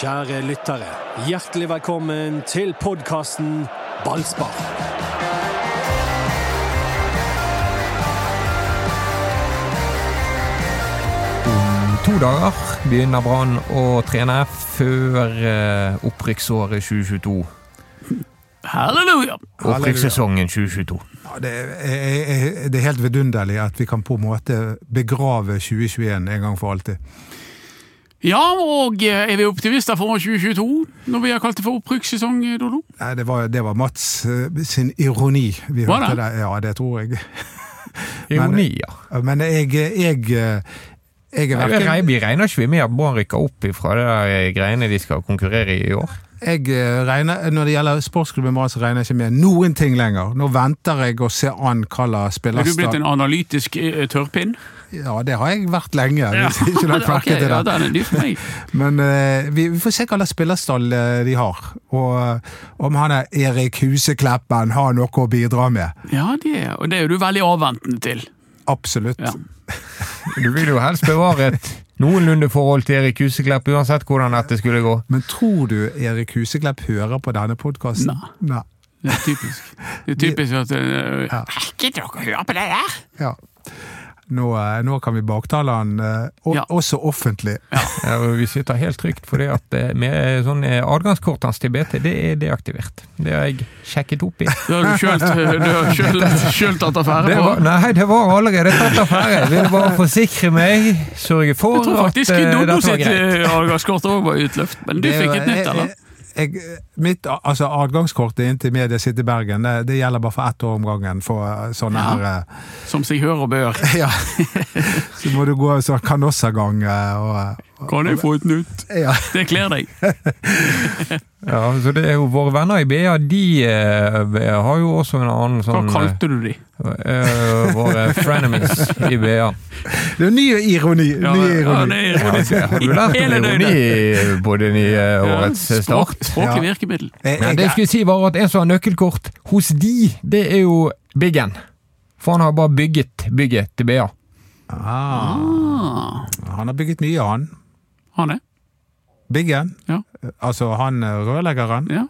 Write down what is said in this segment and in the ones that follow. Kjære lyttere, hjertelig velkommen til podkasten Ballspar. Om to dager begynner Brann å trene før eh, opprykksåret 2022. Halleluja! Opprykkssesongen 2022. Ja, det, er, er- det er helt vidunderlig at vi kan på en måte begrave 2021 en gang for alltid. Ja, og eh, er vi optimister for 2022, når vi har kalt det for opprykkssesong, eh, Dodo? Nei, det, var, det var Mats eh, sin ironi vi Var hørte det? der. Ja, det tror jeg. Ironi, ja. Men jeg, jeg, jeg, er Nei, Vi verken regner- vi regner ikke vi med at Brann rykker opp fra de der eh, greiene de skal konkurrere i i år. jeg eh, regner, Når det gjelder sportsklubben Brann, så regner jeg ikke med noen ting lenger. Nå venter jeg og ser an hva slags Er du blitt spillerstall en analytisk eh, tørrpinn? Ja, det har jeg vært lenge. Hvis ikke du har Ok, merket det. ja, den er ny for meg. Men eh, vi, vi får se hva slags spillerstall eh, de har. Og eh, om han er Erik Husekleppen har noe å bidra med. Ja, det, er- og det er jo du veldig avventende til. Absolutt. Ja. Du vil jo helst bevare et noenlunde forhold til Erik Huseklepp, uansett hvordan dette skulle gå. Men tror du Erik Huseklepp hører på denne podkasten? Nei. Nei. Det er typisk. Det er typisk at eh, Ikke dere høre på det der! Ja. Nå, eh, nå kan vi baktale han, eh, og, Ja. også offentlig. Ja, og Vi sitter helt trygt fordi at eh, med eh, sånn eh, adgangskortet hans til BT, det er deaktivert. Det har jeg sjekket opp i. Du har jo sjøl- du har jo sjøl sjøl tatt affære Det på. var, nei, det var allerede tatt affære. Jeg ville bare forsikre meg, sørge for Jeg tror at faktisk eh, Dodo dette var sitt greit. eh, avgangskort òg var utløpt, men du Det er fikk jo- et nytt, eller? Jeg, jeg, mitt a- altså, adgangskortet inn til Media City Bergen det, det gjelder bare for ett år om gangen. For eh, sånne Ja. her eh, Som seg hør og bør. Ja. Så må du gå sånn kanossagang eh, og, eh, Kan jeg få et nytt? ja. Det kler deg. Ja, så det er jo Våre venner i BA de eh, har jo også en annen Hva sånn kalte du de? eh, Våre frenemies i BA. Det er ny ironi. Ja, ny ja, ironi. det er Ja, ironi. Har du lært om Hele døgnet. ironi på den nye eh, årets Ja, start? Språk, språklig Ja. virkemiddel. Jeg- Nei, jeg- det jeg skulle si var at en som har nøkkelkort hos de, det er jo Biggen. For han har bare bygget bygget til BA. ah, Ah, han har bygget mye, han. han er. Biggen. Ja. Altså han eh, rørleggeren. Ja.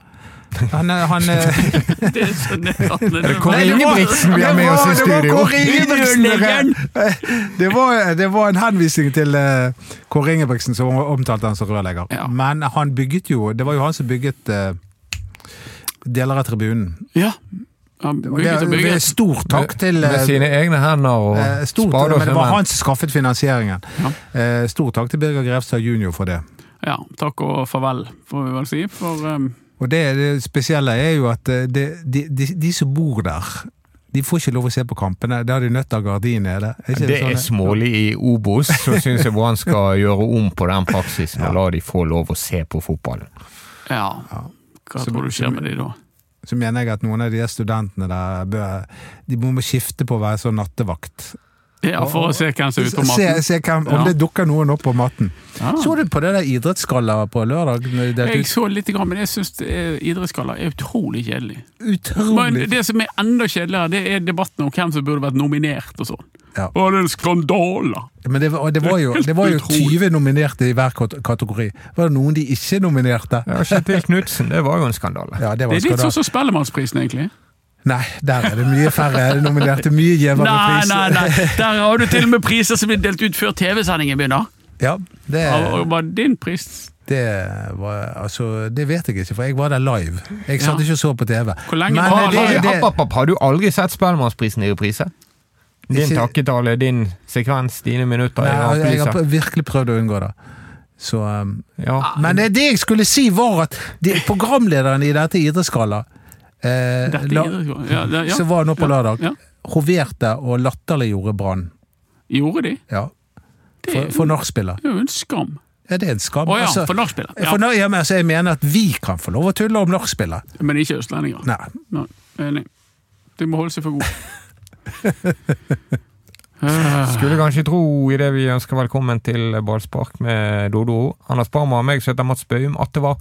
Han, eh, han eh, Det er så nedlatende. Er det Kåre Ingebrigtsen vi har med oss i Det var- det var studio? Kåre Ingebrigtsen, Rørleggeren. dere. Det var, det var en henvisning til eh, Kåre Ingebrigtsen, som omtalte han som rørlegger. Ja. Men han bygget jo Det var jo han som bygget eh, deler av tribunen. Ja. Han Og Det bygget og er bygget. stor takk til Med eh, sine egne hender og Eh, Stort, spader. men det var som han som skaffet finansieringen. Ja. Eh, Stor takk til Birger Grevstad jr. for det. Ja, takk og farvel, får vi vel si. For um, Og det, det spesielle er jo at eh, det, de, de, de som bor der, de får ikke lov å se på kampene. Da er de nødt til å ha gardin nede. Er ikke Det sånn, er smålig i Obos, så syns jeg Brann skal gjøre om på den praksisen og la de få lov å se på fotballen. ja. Ja. Hva Så- tror du så- skjer med de da? Så mener jeg at noen av de der studentene der bør, De må må skifte på å være sånn nattevakt. Ja, for å se hvem som er ute på Se, matten. se hvem, om Ja. det dukker noen opp på matten. Ah. Ja. Så du på det der idrettsgallaet på lørdag? Når de delte Jeg ut? så litt, grann, men jeg syns idrettsgaller er utrolig kjedelig. Men Utrolig! det som er enda kjedeligere, det er debatten om hvem som burde vært nominert og sånn. Ja. Å, det er skandaler! Men det, var- og det var jo, det var jo Helt 20 utrolig. nominerte i hver kat- kategori. Var det noen de ikke nominerte? Ja, Kjetil Knutsen, det var jo en skandale. Ja, det var Det er litt skandal. sånn som Spellemannsprisen, egentlig. Nei, der er det mye færre nominerte. Mye gjevere Nei, pris. nei, nei. Der har du til og med priser som blir delt ut før TV-sendingen begynner. Ja, det, Og bare din pris det var Altså, det vet jeg ikke, for jeg var der live. Jeg satt Ja. ikke og så på TV. Hvor lenge Men, var eh, han det- live? det- App, app, app, har du aldri sett Spellemannsprisen i reprise? Din Ikke- takketale, din sekvens, dine minutter i Nei, jeg har rampelyset. pr- virkelig prøvd å unngå det. Så, um, Ja. Ah, men det, det jeg skulle si, var at det, programlederen i dette idrettsgallaet eh, Dette la- er idrettsgallaen. ja, det, ja. som var nå på lørdag, Ja. hoverte og latterliggjorde Brann. Gjorde de? Ja. Det For, er for nachspieler. det er jo en skam. Ja, det er en skam. Å ja, Altså, for nachspieler. for Ja. nå- ja, men altså, jeg mener at vi kan få lov å tulle om nachspieler. Men ikke østlendinger. Nei. Nei, Enig. De må holde seg for gode. Øh, Skulle kanskje tro i det vi ønsker velkommen til Ballspark med Dodo, Anders Barmer og meg, som heter Mats Bøum, at det var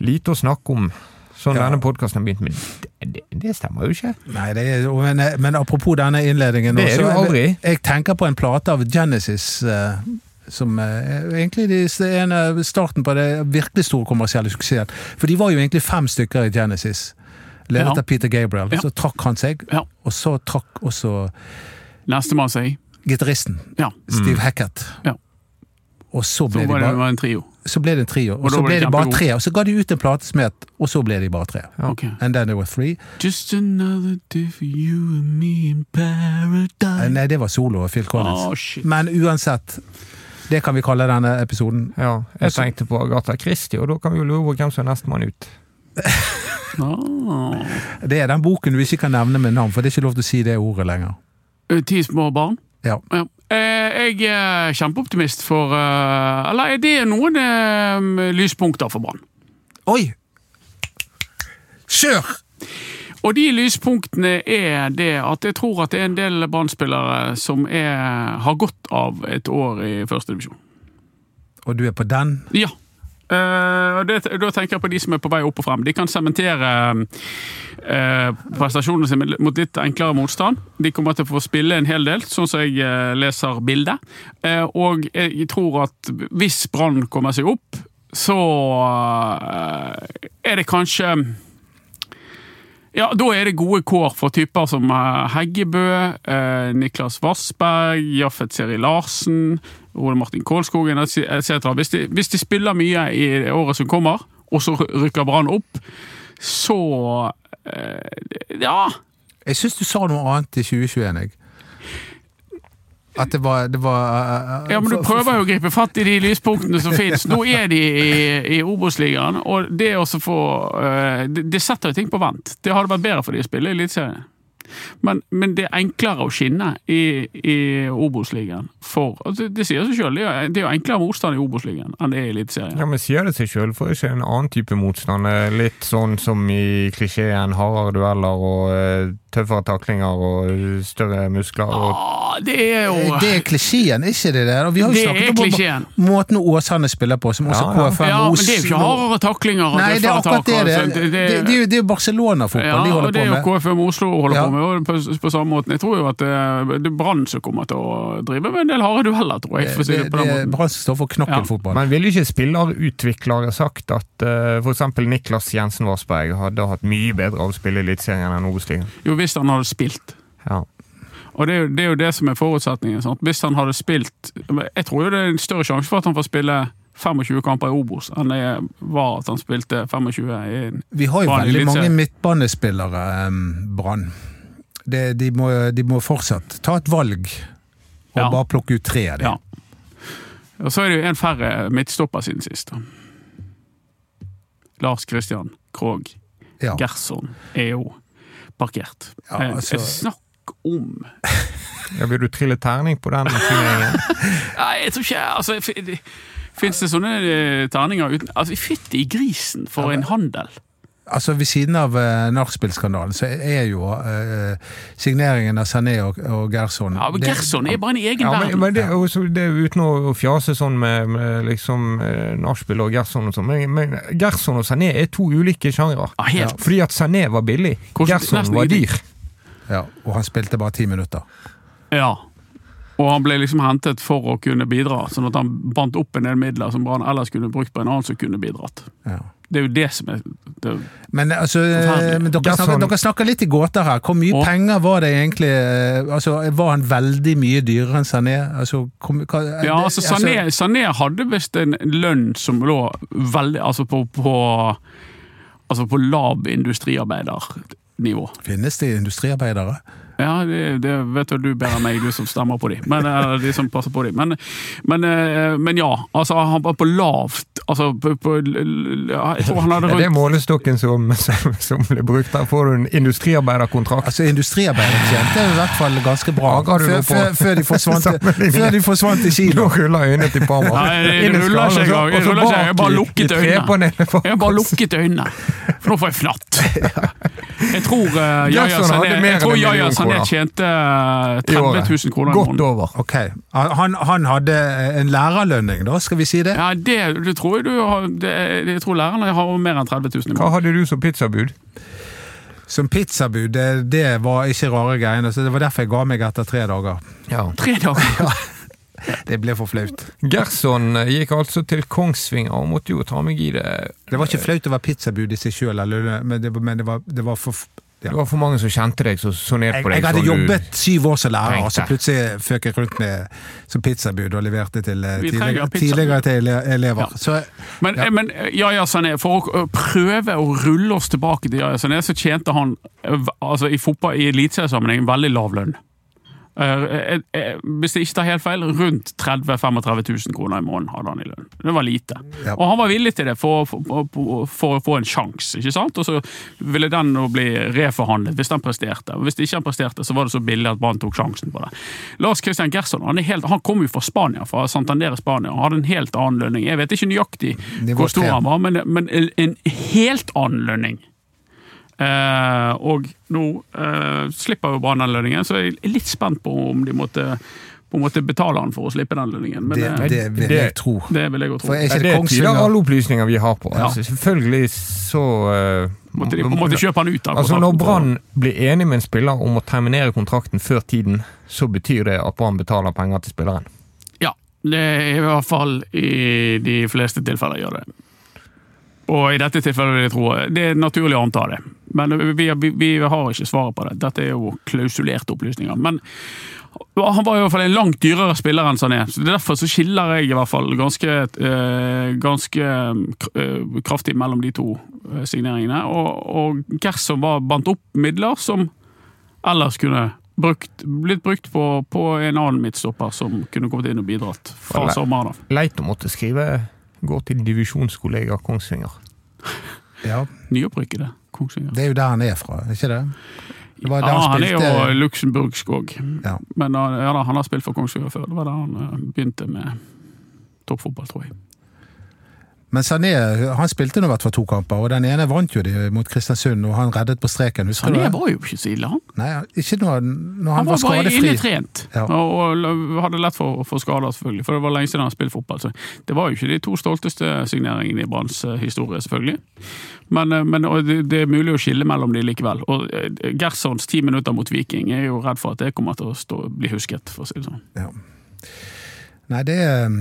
lite å snakke om. Sånn Ja. denne podkasten har begynt, men det, det, det stemmer jo ikke. Nei det er, men, men apropos denne innledningen Det er det også, jo aldri. Jeg, jeg tenker på en plate av Genesis eh, som eh, egentlig de- det er en av starten på det virkelig store kommersielle suksessen. For de var jo egentlig fem stykker i Genesis, ledet Ja. av Peter Gabriel. Ja. Så trakk han seg, Ja. og så trakk også Nestemann seg. gitaristen Ja. Steve Hackett. Mm. Ja. Og så Så ble, var de det bare, var en trio. så ble det en trio, og, Og da så var ble de de bare kjempegode. tre. Og så ga de ut en plate som het Og så ble de bare tre. Ok. And then there were three. Just another day for you and me in Eh, paradise. Nei, det var solo og Phil Collins. Å, shit. Men uansett, det kan vi kalle denne episoden. Ja, jeg Altså- tenkte på Agatha Christie, og da kan vi jo lure på hvem som er nestemann ut. Ah. Det er den boken du ikke kan nevne med navn, for det er ikke lov til å si det ordet lenger. Eh, Ti små barn? Ja. Ja. Eh, Jeg er kjempeoptimist for eh, Eller er det noen eh, lyspunkter for Brann? Oi! Kjør! Og de lyspunktene er det at jeg tror at det er en del Brann-spillere som er, har godt av et år i førstedivisjon. Og du er på den? Ja. Eh, og det, da tenker jeg på de som er på vei opp og frem. De kan sementere eh, prestasjonene sine mot litt enklere motstand. De kommer til å få spille en hel del, sånn som jeg eh, leser bildet. Eh, og jeg tror at hvis Brann kommer seg opp, så eh, er det kanskje ja, Da er det gode kår for typer som eh, Heggebø, eh, Niklas Vassberg, Jaffet Seri Larsen, Ole Martin Kålskogen etc. Hvis, de- hvis de spiller mye i året som kommer, og så rykker Brann opp, så eh, Ja! Jeg syns du sa noe annet i 2021, jeg. At det var, det var eh, eh, Ja, men Du for- for- prøver jo å gripe fatt i de lyspunktene som finnes. Nå er de i, i Obos-ligaen, og det å så få eh, det, det setter jo ting på vent. Det hadde vært bedre for de å spille i Eliteserien. Men, men det er enklere å skinne i, i Obos-ligaen. For altså, Det sier seg sjøl, det er jo- det er jo enklere motstand i Obos-ligaen enn det er i Eliteserien. Ja, men sier det seg sjøl, får ikke en annen type motstand. eh, Litt sånn som i klisjeen hardere dueller og eh, tøffere taklinger og eh, større muskler. Og, Ah, det er jo Eh, Det er klisjeen, ikke det der? Og vi har jo Det snakket er om klisjeen. må- måten Åsane spiller på, som også Ja, ja. KFM Ja, og men det er jo ikke Oslo hardere taklinger og Nei, det er tøffere akkurat tak. det. Det, altså, det, det, er jo- det er jo Barcelona-fotball Ja, de holder og det er jo på med. KFM Oslo holder Ja. på med, og på, på samme måten. Jeg tror jo at eh, det er Brann som kommer til å drive med en del harde dueller, tror jeg. For å si det, Det, på det den er måten. Brann som står for knokkelfotball. Men ville ikke spillerutviklere sagt at eh, for f.eks. Niklas Jensen Vassberg hadde hatt mye bedre av å spille i Eliteserien enn Obos-ligaen? Jo, hvis han hadde spilt. Ja. Og det er, jo, det er jo det som er forutsetningen. Sant? Hvis han hadde spilt Jeg tror jo det er en større sjanse for at han får spille 25 kamper i Obos enn det var at han spilte 25 i Vi har jo veldig Brann i mange Eliteserien. midtbanespillere, em, Brann. Det- De, må- de må fortsatt ta et valg, og Ja. bare plukke ut tre av dem. Ja. Og så er det jo en færre midtstopper siden sist. da. Lars Christian Krogh. Ja. Gerson er jo parkert. Ja, Eh, altså- Snakk om ja, Vil du trille terning på den? turneringen? Nei, jeg tror ikke altså, f- det- Fins det sånne eh, terninger uten altså, Fytti grisen for en handel! Altså Ved siden av eh, nachspiel-skandalen så er jo eh, signeringen av Sané og, og Gerson Ja, men det- Gerson er bare en egen Ja, men, verden. men det, og så det, er jo uten å å fjase sånn med, med liksom eh, nachspiel og Gerson og sånn, men, men Gerson og Sané er to ulike sjangre. Ja, helt. Fordi at Sané var billig, Hvordan- Gerson nesten var ingenting. dyr. Ja, og han spilte bare ti minutter. Ja. Og han ble liksom hentet for å kunne bidra, sånn at han bandt opp en del midler som Brann ellers kunne brukt på en annen som kunne bidratt. Ja. Det er jo det som er det, Men altså, eh, Forferdelig. men dere, Gerson- snakker, dere snakker litt i gåter her. Hvor mye Og- penger var det egentlig eh, Altså, Var han veldig mye dyrere enn Sané? Altså, hvor my- hva- Ja, det- altså Sané, Sané hadde visst en lønn som lå veldig Altså på, på, altså på lav industriarbeidernivå. Finnes det industriarbeidere? Ja, det, det vet jo du bedre enn meg, du som stemmer på de. Men, eller de som passer på de. Men, men, eh, men ja, altså han var på lavt altså på, på, ja, Jeg tror han hadde Er det rundt målestokken som, som, som ble brukt? Der får du en industriarbeiderkontrakt. Altså Industriarbeidere tjente i hvert fall ganske bra Ja, hva har du før, nå på? før, før, de forsvant, Sammenligning. før de forsvant til Kina. Nå ruller øynene til Parma. Nei, det- det Inn i ruller skallen, ikke engang. og så- og så Det ruller ikke. bak Jeg bare i- lukket i øynene. trepanelet bak Jeg bare oss. lukket øynene, for nå får jeg fnatt. Jeg tror uh, Jaja Jackson hadde mer Sané, enn jeg tror en Yahya million Sané kroner. tjente eh, I året. 30 000 kroner i Godt måneden. over. Ok, han, han hadde eh, en lærerlønning da, skal vi si det? Ja, det, det tror jeg du har det, Jeg tror lærerne har mer enn 30 000 i Hva måneden. hadde du som pizzabud? Som pizzabud, det, det var ikke rare greiene, så det var derfor jeg ga meg etter tre dager. Ja. Tre dager! Det ble for flaut. Gerson gikk altså til Kongsvinger og måtte jo ta meg i det. Det var ikke flaut å være pizzabud i seg sjøl, men, det, men det, var, det var for ja. Det var for mange som kjente deg, som så ned jeg, på deg. jeg hadde så du- jobbet syv år som lærer, Tenkte. og så plutselig føk jeg rundt med som pizzabud og leverte til eh, Vi trenger tidligere, pizza. tidligere til ele- elever. Ja. Så Men, Ja. men Yahya Sané, for å prøve å rulle oss tilbake til Yahya Sané, så tjente han eh, altså, i fotball i eliteseriesammenheng veldig lav lønn. Eh, eh, eh, Hvis jeg ikke tar helt feil, rundt 30 000-35 000 kroner i måneden hadde han i lønn. Det var lite. Ja. Og han var villig til det for, for, for, for å få en sjanse, ikke sant? Og så ville den nå bli reforhandlet hvis den presterte. Og hvis ikke han presterte, så var det så billig at Brann tok sjansen på det. Lars Christian Gerson han, er helt, han kom jo fra Spania, fra Santander i Spania, og hadde en helt annen lønning. Jeg vet ikke nøyaktig Nivå hvor stor tre. han var, men, men en helt annen lønning. Eh, og nå eh, slipper jo Brann den lønningen, så jeg er litt spent på om de måtte på en måte betale han for å slippe den lønningen. Men eh, det, det, det, det vil jeg det- tro. vil jeg jo For tro. er ikke Ja, det det tyder Kongsvinger alle opplysninger vi har på. Ja. Altså, selvfølgelig så eh, Måtte de på en måte kjøpe han ut av Altså Når kontrakten. Brann blir enig med en spiller om å terminere kontrakten før tiden, så betyr det at Brann betaler penger til spilleren. Ja, det er i hvert fall i de fleste tilfeller gjør det. Og i dette tilfellet vil jeg tro eh, Det er naturlig å anta det. Men vi, vi, vi har ikke svaret på det. Dette er jo klausulerte opplysninger. Men han var i hvert fall en langt dyrere spiller enn Sané. Så derfor så skiller jeg i hvert fall ganske, eh, ganske eh, kraftig mellom de to eh, signeringene. Og, og Gerson var bandt opp midler som ellers kunne brukt, blitt brukt på, på en annen midtstopper som kunne kommet inn og bidratt fra Eller- sommeren av. Leit å måtte skrive 'gå til divisjonskollega Kongsvinger'. Ja, Nyopprykkede Kongsvinger. det er jo der han er fra, ikke det? Det var der Ja, han er jo spilte- luxemburgsk òg, Ja. men han, ja, da, han har spilt for Kongsvinger før. Det var da han eh, begynte med toppfotball, tror jeg. Men Sané han spilte nå i hvert fall to kamper, og den ene vant jo de mot Kristiansund, og han reddet på streken. Husker Sané du det? var jo ikke så ille, han. Nei, ikke når, når han, Han var var bare skadefri. innetrent, Ja. og, og hadde lett for å få skader, selvfølgelig. For det var lenge siden han spilte fotball. Så det var jo ikke de to stolteste signeringene i Branns eh, historie, selvfølgelig. Men, eh, men og det, det er mulig å skille mellom de likevel. Og eh, Gersons ti minutter mot Viking er jo redd for at det kommer til å stå, bli husket, for å si det sånn. Ja. Nei, det eh,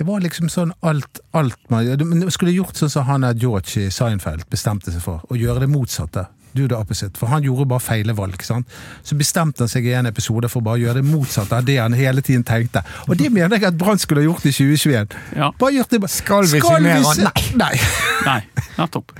det var liksom sånn alt, alt man Men du skulle gjort sånn som han der George i Seinfeld bestemte seg for, og gjøre det motsatte. Du det opposite. For han gjorde bare feile valg. sant? Så bestemte han seg i en episode for bare å gjøre det motsatte av det han hele tiden tenkte. Og det mener jeg at Brann skulle ha gjort i 2021. Ja. Bare gjort det Skal vi signere han? si- Nei. Nei, nettopp.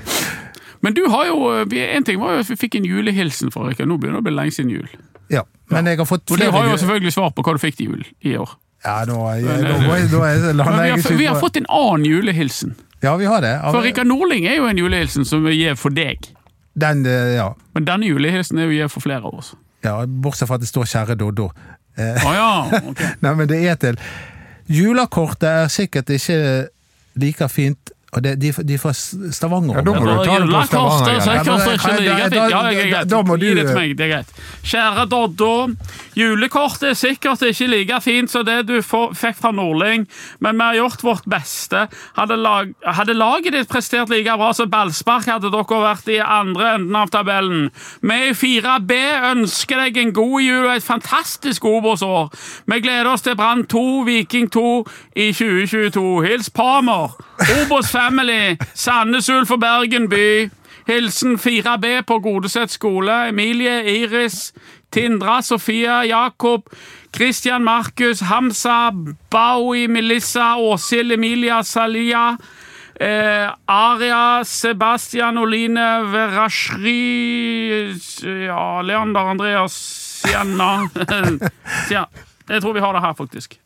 Men du har jo eh, vi- En ting var jo at vi fikk en julehilsen fra Rikard. Nå begynner det å bli lenge siden jul. Ja, men jeg har fått Og du flere har jo jule- selvfølgelig svar på hva du fikk til jul i år. Ja, nå, jeg, nå, må jeg- nå, jeg- eh, Men lander vi, jeg har, ikke vi har ut på- fått en annen julehilsen. Ja, vi har det. Av- For Rikard Nordling er jo en julehilsen som vi gir for deg. Den, eh, ja. Men denne julehilsen er jo gitt for flere av oss. ja. Bortsett fra at det står 'Kjære Doddo'. Å ja, ok. Nei, men det er til. Julekortet er sikkert ikke like fint. Og det, de, er fra- de er fra Stavanger. Ja, da må Ja, du ta det på la kaste, så jeg Stavanger. Ja, men kaster ikke kan jeg- det. Jeg- da- ja, jeg- jeg- da må du- Gi det til meg, det er greit. Kjære Doddo, julekortet er sikkert ikke like fint som det du få- fikk fra Nordling, men vi har gjort vårt beste. Hadde, lag, hadde laget ditt prestert like bra som ballspark, hadde dere vært i andre enden av tabellen. Vi i 4B ønsker deg en god jul og et fantastisk Obos-år. Vi gleder oss til Brann 2, Viking 2 i 2022. Hils Palmer, Obos-family, Sandnes Ulf og Bergen by. Hilsen 4B på Godeset skole. Emilie, Iris, Tindra, Sofia, Jakob, Christian, Markus, Hamza, Baui, Melissa, Åshild, Emilia, Salia, eh, Aria, Sebastian, Oline, Verashri Ja, Leander, Andreas, Sienna Sia. Jeg tror vi har det her, faktisk.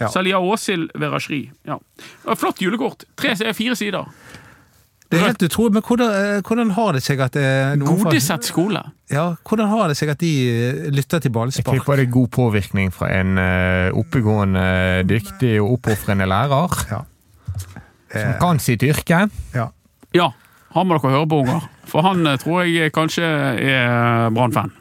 Ja. Salia Åshild Verashri. Ja. Flott julekort. Tre, fire sider. Det er helt utrolig, men hvordan, eh, hvordan har det seg at det er noen fra- Godeset skole. Ja, hvordan har det seg at de eh, lytter til ballspark? Tipper det er god påvirkning fra en eh, oppegående, dyktig og oppofrende lærer Ja. Eh, som kan sitt yrke. Ja. Ja, han må dere høre på, unger. For han eh, tror jeg kanskje er eh, Brann-fan.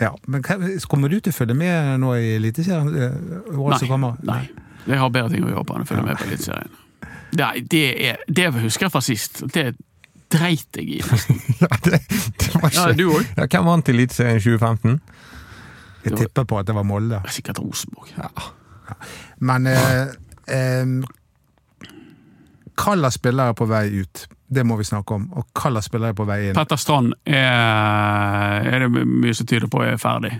ja. Men hva- kommer du til å følge med nå i Eliteserien? eh, året som kommer? nei. Jeg har bedre ting å gjøre på enn å følge med på Eliteserien. Nei, det, er, det husker jeg fra sist. Det dreit jeg i. nesten. Ja, det, det var Ja, ikke du òg? ja, Hvem vant Eliteserien 2015? Jeg tipper på at det var Molde. Sikkert Rosenborg. Ja. Men eh, em, hva slags spillere er på vei ut? Det må vi snakke om. Og hva slags spillere er på vei inn? Petter Strand er, er det mye som tyder på er ferdig.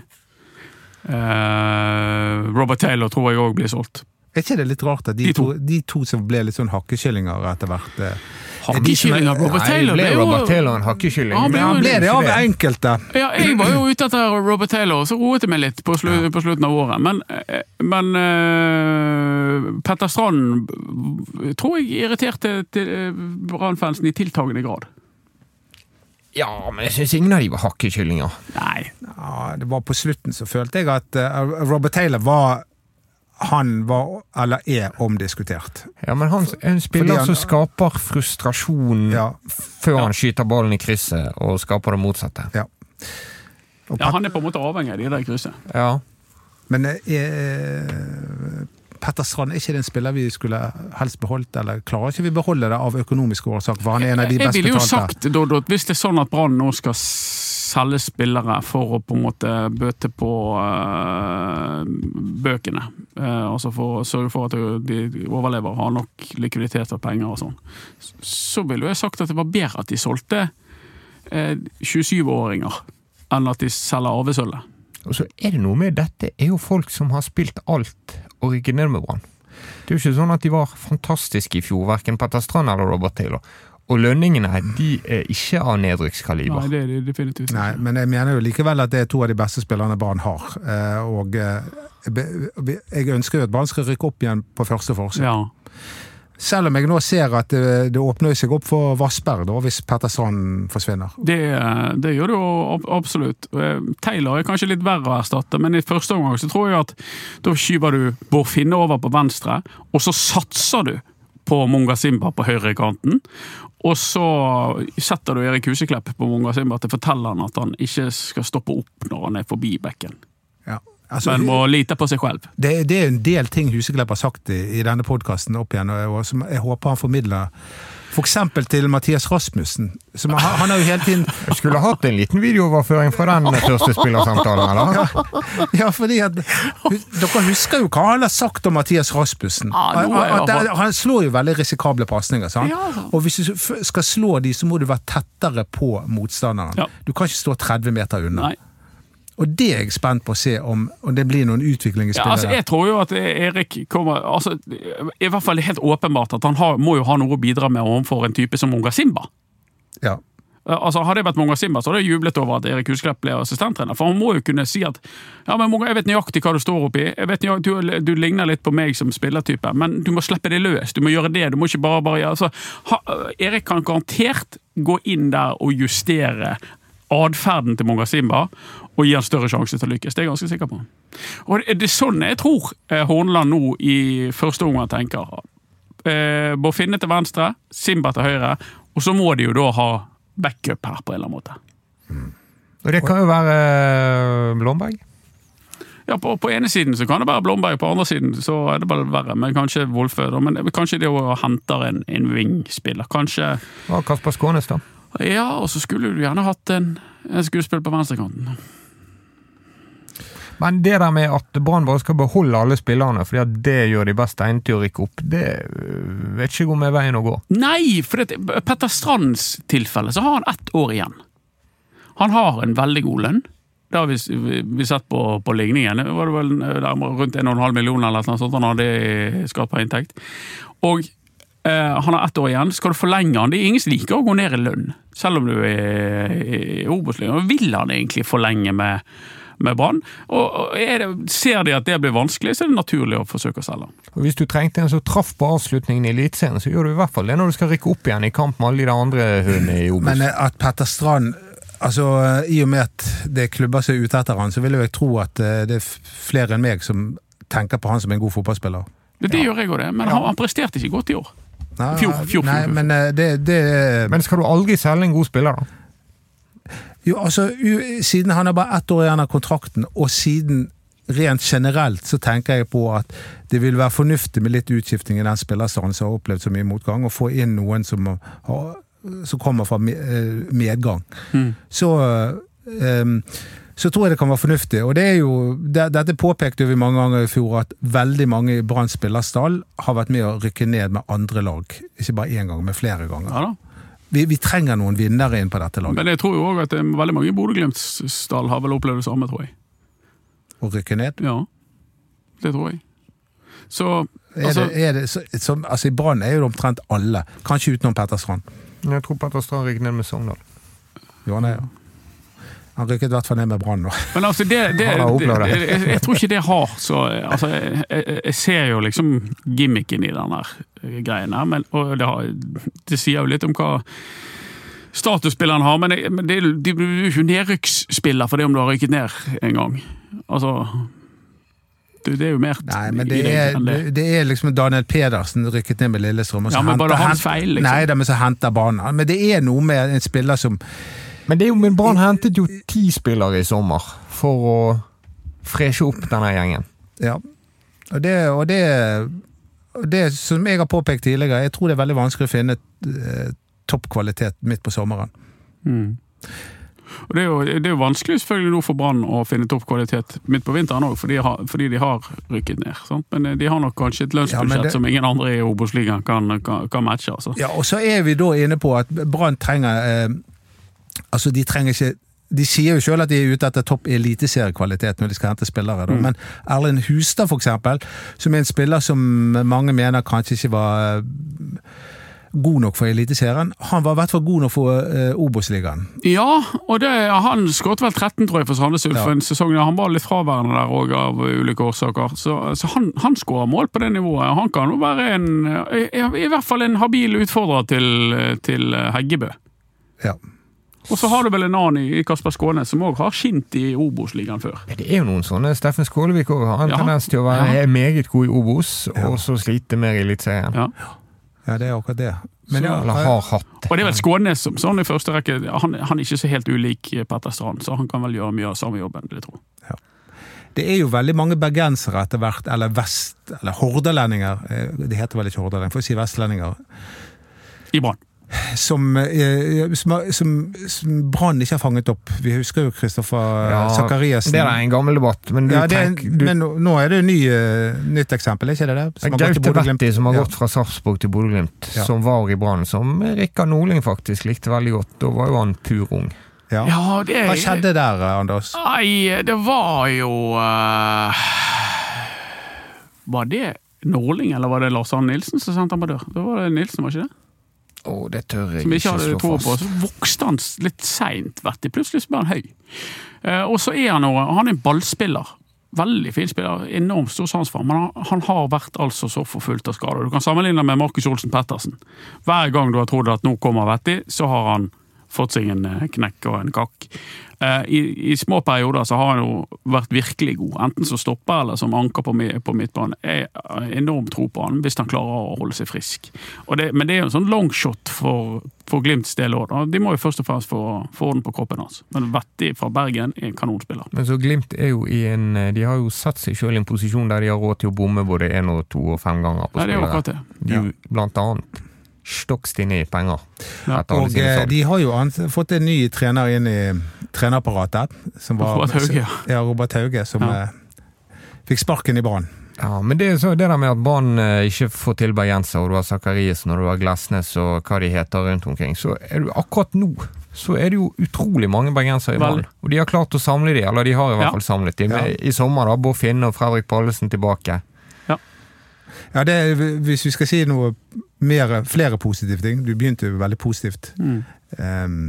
Eh, Robert Taylor tror jeg òg blir solgt. Er ikke det litt rart at de, De to. to. de to som ble litt sånn hakkekyllinger etter hvert eh, Har er de de som er- kyllinger? Robert Nei, Taylor ble ble Robert jo Taylor en hakkekylling? Han ble Men han ble det av enkelte. ja, Jeg var jo ute etter Robert Taylor, så roet jeg meg litt på, slu, på slutten av året. Men, eh, men eh, Petter Strand eh, tror jeg irriterte til, eh, Brann-fansen i tiltagende grad. Ja, men jeg syns ingen av de var hakkekyllinger. Nei. Ja, det var på slutten så følte jeg at eh, Robert Taylor var Han var, eller er, omdiskutert. Ja, men han en Fordi spiller han- som skaper frustrasjon Ja. før han skyter ballen i krysset og skaper det motsatte. Og Ja, han er på en måte avhengig av de der kryssene. Ja. Men eh, eh, Petter Strand, er ikke det en spiller vi skulle helst beholdt, eller klarer ikke vi beholde det av økonomiske årsaker, for han er en av de Jeg best ville jo betalte? sagt, Dodo, at hvis det er sånn at Brann nå skal selge spillere for å på en måte bøte på eh, bøkene, eh, altså for å sørge for at de overlever og har nok likviditet og penger og sånn, så ville jeg sagt at det var bedre at de solgte eh, 27-åringer enn at de selger arvesølvet. Og så er det noe med dette er jo folk som har spilt alt og rykket ned med Brann. Det er jo ikke sånn at de var fantastiske i fjor, verken Petter Strand eller Robert Taylor. Og lønningene de er ikke av Nei, nedrykkskaliber. det er de definitivt Nei, ikke. men jeg mener jo likevel at det er to av de beste spillerne Brann har. eh, Og eh, be- be- jeg ønsker jo at Brann skal rykke opp igjen på første forsøk. Ja. Selv om jeg nå ser at eh, det, det åpner seg opp for Vassberg, da, hvis Petter Strand forsvinner. Det, det gjør det jo ab- absolutt. Eh, Taylor er kanskje litt verre å erstatte, men i første omgang så tror jeg at da skyver du Bård Finne over på venstre, og så satser du på Munga Simba på høyrekanten. Og så setter du Erik Huseklepp på Munga Simba til å fortelle han at han ikke skal stoppe opp når han er forbi bekken, Ja. Altså, men må lite på seg selv. det, det er jo en del ting Huseklepp har sagt i, i denne podkasten opp igjen, og, og som jeg håper han formidler. F.eks. til Mathias Rasmussen. Som, han, han har jo hele tiden Jeg skulle hatt en liten videooverføring fra den første spillersamtalen, eller? Ja, fordi at hus- Dere husker jo hva han har sagt om Mathias Rasmussen. Ja, nå er jeg- At det- han slår jo veldig risikable pasninger. sant? Ja, altså. sant. Og hvis du f- skal slå de, så må du være tettere på motstanderen. Ja. Du kan ikke stå 30 meter unna. Nei. Og det er jeg spent på å se om, om det blir noen utvikling i Ja, spillet. altså, jeg tror jo at Erik kommer altså, I hvert fall helt åpenbart at han har, må jo ha noe å bidra med overfor en type som Munga Simba. ja. Eh, Altså, hadde jeg vært Monga Simba, så hadde jeg jublet over at Erik Husklepp ble assistenttrener. For han må jo kunne si at ja, men Monga, jeg vet nøyaktig hva du står oppi, jeg vet nøyaktig, du, du ligner litt på meg som spillertype, men du må slippe det løs. Du må gjøre det. Du må ikke bare bare altså, ha, Erik kan garantert gå inn der og justere atferden til Monga Simba og gi han større sjanse til å lykkes. Det er jeg ganske sikker på. Og det, det er sånn jeg tror eh, Horneland nå i første omgang tenker. Eh, Borfinne til venstre, Simba til høyre, og så må de jo da ha backup her på en eller annen måte. Og det kan jo være eh, Blomberg. Ja, på, på ene siden så kan det være Blomberg, på andre siden så er det bare verre. Men kanskje Wolfø, da. Men kanskje de også henter en, en wing-spiller. Kanskje Og Kasper Skånes, da. Ja, og så skulle du gjerne hatt en, en skuespiller på venstrekanten. Men det der med at Brann bare skal beholde alle spillerne fordi at det gjør de best egnet til å rykke opp, det øh, vet ikke om er veien å gå. Nei, for det, Petter Strands tilfelle så har han ett år igjen. Han har en veldig god lønn. Det har vi, vi, vi sett på, på ligningen. Det var det vel eh, der, rundt 1,5 millioner eller noe sånt han hadde i skapa inntekt. Og eh, han har ett år igjen. Skal du forlenge han? Det er ingen som liker å gå ned i lønn, selv om du er i i Obos-ligaen. Vil han egentlig forlenge med, med Brann? Og, og er det, ser de at det blir vanskelig, så er det naturlig å forsøke å selge han. Og Hvis du trengte en som traff på avslutningen i Eliteserien, så gjør du i hvert fall det når du skal rykke opp igjen i kamp med alle de der andre hundene i Obos. Men eh, at Petter Strand Altså, I og med at det er klubber som er ute etter han, så vil jo jeg tro at eh, det er f- flere enn meg som tenker på han som en god fotballspiller. Det, det gjør jeg òg, det. Men han, han presterte ikke godt i år. Nei, Fjor, fjor, nei, fjor. men eh, det, det Men skal du aldri selge en god spiller, da? Jo, altså, u- siden han har bare ett år igjen av kontrakten, og siden rent generelt så tenker jeg på at det vil være fornuftig med litt utskifting i den spillerstanden som har opplevd så mye motgang, og få inn noen som, har, som kommer fra me- eh, medgang. Så eh, em, så tror jeg det kan være fornuftig. Og det er jo, det, Dette påpekte vi mange ganger i fjor, at veldig mange i Brann spillerstall har vært med å rykke ned med andre lag. Ikke bare én gang, men flere ganger. Ja da. Vi, vi trenger noen vinnere inn på dette laget. Men jeg tror jo òg at eh, veldig mange i Bodø-Glimts-stall har vel opplevd det samme, tror jeg. Å rykke ned. Ja, det tror jeg. Så Er altså, det, er det, så, som, altså I Brann er jo det omtrent alle, kanskje utenom Petter Strand. Jeg tror Petter Strand rykket ned med Sogndal. Jo, han er jo. Han rykket i hvert fall ned med Brann nå. Men altså, det, det, det, Har han opplevd det? jeg, jeg tror ikke det har så altså, jeg, jeg, jeg ser jo liksom gimmicken i den der greien her, men, og det, har, det sier jo litt om hva statusspilleren har, men, jeg, men det, er jo- de blir jo ikke nedrykksspiller for det om du har rykket ned en gang. Altså Det, det er jo mer Nei, men i det deg er, enn det. det er liksom Daniel Pedersen rykket ned med Lillestrøm. og så Ja, men henter- bare hans hent- feil, liksom. Nei, da, men så henter banen. Men det er noe med en spiller som Men det er jo, men Brann hentet jo ti spillere i sommer for å freshe opp denne gjengen. Ja. Og det, og det, og det som jeg har påpekt tidligere, jeg tror det er veldig vanskelig å finne eh, toppkvalitet midt på sommeren. Mm. Og det er, jo, det er jo vanskelig selvfølgelig nå for Brann å finne toppkvalitet midt på vinteren òg, fordi, de har- fordi de har rykket ned. Sant? Men eh, de har nok kanskje et Ja, lønnsbudsjett men det- som ingen andre i Obos-ligaen kan, kan, kan matche. Altså. Ja, og så er vi da inne på at Brann trenger eh, Altså, de trenger ikke de sier jo selv at de er ute etter topp eliteseriekvalitet når de skal hente spillere. Da. Men Erlend Hustad, for eksempel, som er en spiller som mange mener kanskje ikke var eh, god nok for Eliteserien, han var i hvert fall god nok for eh, Obos-ligaen. Ja, og det, han skåret vel 13, tror jeg, for Sandnes Ulf Ja. for en sesong. der. Han var litt fraværende der òg, av ulike årsaker. Så, så han, han skårer mål på det nivået. Han kan jo være en, i, i hvert fall en habil utfordrer til, til Heggebø. Ja. Og så har du vel en annen i- i Kasper Skåne, som òg har skint i Obos-ligaen før. Men det er jo noen sånne. Steffen Skålevik også har en Ja. tendens til å være Ja. er meget god i Obos, og så slite mer i Eliteserien. Ja. ja, det er akkurat det. Men ja, Eller har hatt. Og det er vel Skånes som sånn i første rekke. Han, han er ikke så helt ulik Petter Strand, så han kan vel gjøre mye av samme jobben, vil jeg tro. Det er jo veldig mange bergensere etter hvert, eller vest, eller hordalendinger, eh, det heter vel ikke hordalendinger, får si vestlendinger, I Brann. som, eh, som, har- som, som Brann ikke har fanget opp. Vi husker jo Kristoffer Ja, ja, Sakariassen. Det er en gammel debatt, men du Eh, Ja, det er, tenker du, men nå nå er det et ny, eh, nytt eksempel, er ikke det det? Som har gått til Gaute Bodø-Glimt. Betti, som har Ja. gått fra Sarpsborg til Bodø-Glimt, Ja. som var i Brann, som Rikard Norling faktisk likte veldig godt. Da var jo han pur ung. Ja. Ja, det Hva skjedde der, eh, Anders? Nei, det var jo eh, Var det Norling, eller var det Lars Arne Nilsen som sendte han på dør? Det var det Nilsen, var ikke det? Å, det tør jeg Som ikke ikke hadde slå tro på. fast. Så vokste han litt seint, vet du. Plutselig så ble han høy. Eh, Og så er han jo Han er en ballspiller. Veldig fin spiller, enormt stor sans for ham. Men han, han har vært altså så forfulgt av skader. Du kan sammenligne med Markus Olsen Pettersen. Hver gang du har trodd at nå kommer Vetti, så har han fått seg en eh, knekk og en kakk. Eh, I, I små perioder så har han jo vært virkelig god, enten som stopper eller som anker på, mi- på midtbanen. Jeg har enorm tro på han hvis han klarer å holde seg frisk. Og det, men det er jo en sånn longshot for, for Glimts del òg. De må jo først og fremst få, få orden på kroppen hans. Men Vetti fra Bergen er en kanonspiller. Men så Glimt er jo i en eh, De har jo satt seg sjøl i en posisjon der de har råd til å bomme både én og to og fem ganger på Nei, det er jo spillere. akkurat det. De er jo blant annet stokk stinne i penger. Ja. Etter alle Og sine eh, salg. de har jo ans- fått en ny trener inn i trenerapparatet. Som var, Robert Hauge, ja. Ja, Robert Hauge, som Ja. eh, fikk sparken i Brann. Ja, men det, er så, det der med at Brann eh, ikke får til bergensere, og du har Sakariassen og du har Glesnes og hva de heter rundt omkring, så er du akkurat nå så er det jo utrolig mange bergensere i Brann. Vel. Og de har klart å samle de, eller de har i hvert Ja. fall samlet de. Ja. I sommer, da. Bård Finne og Fredrik Pallesen tilbake. Ja, det, Hvis vi skal si noe mer, flere positive ting Du begynte jo veldig positivt. Mm. Ehm,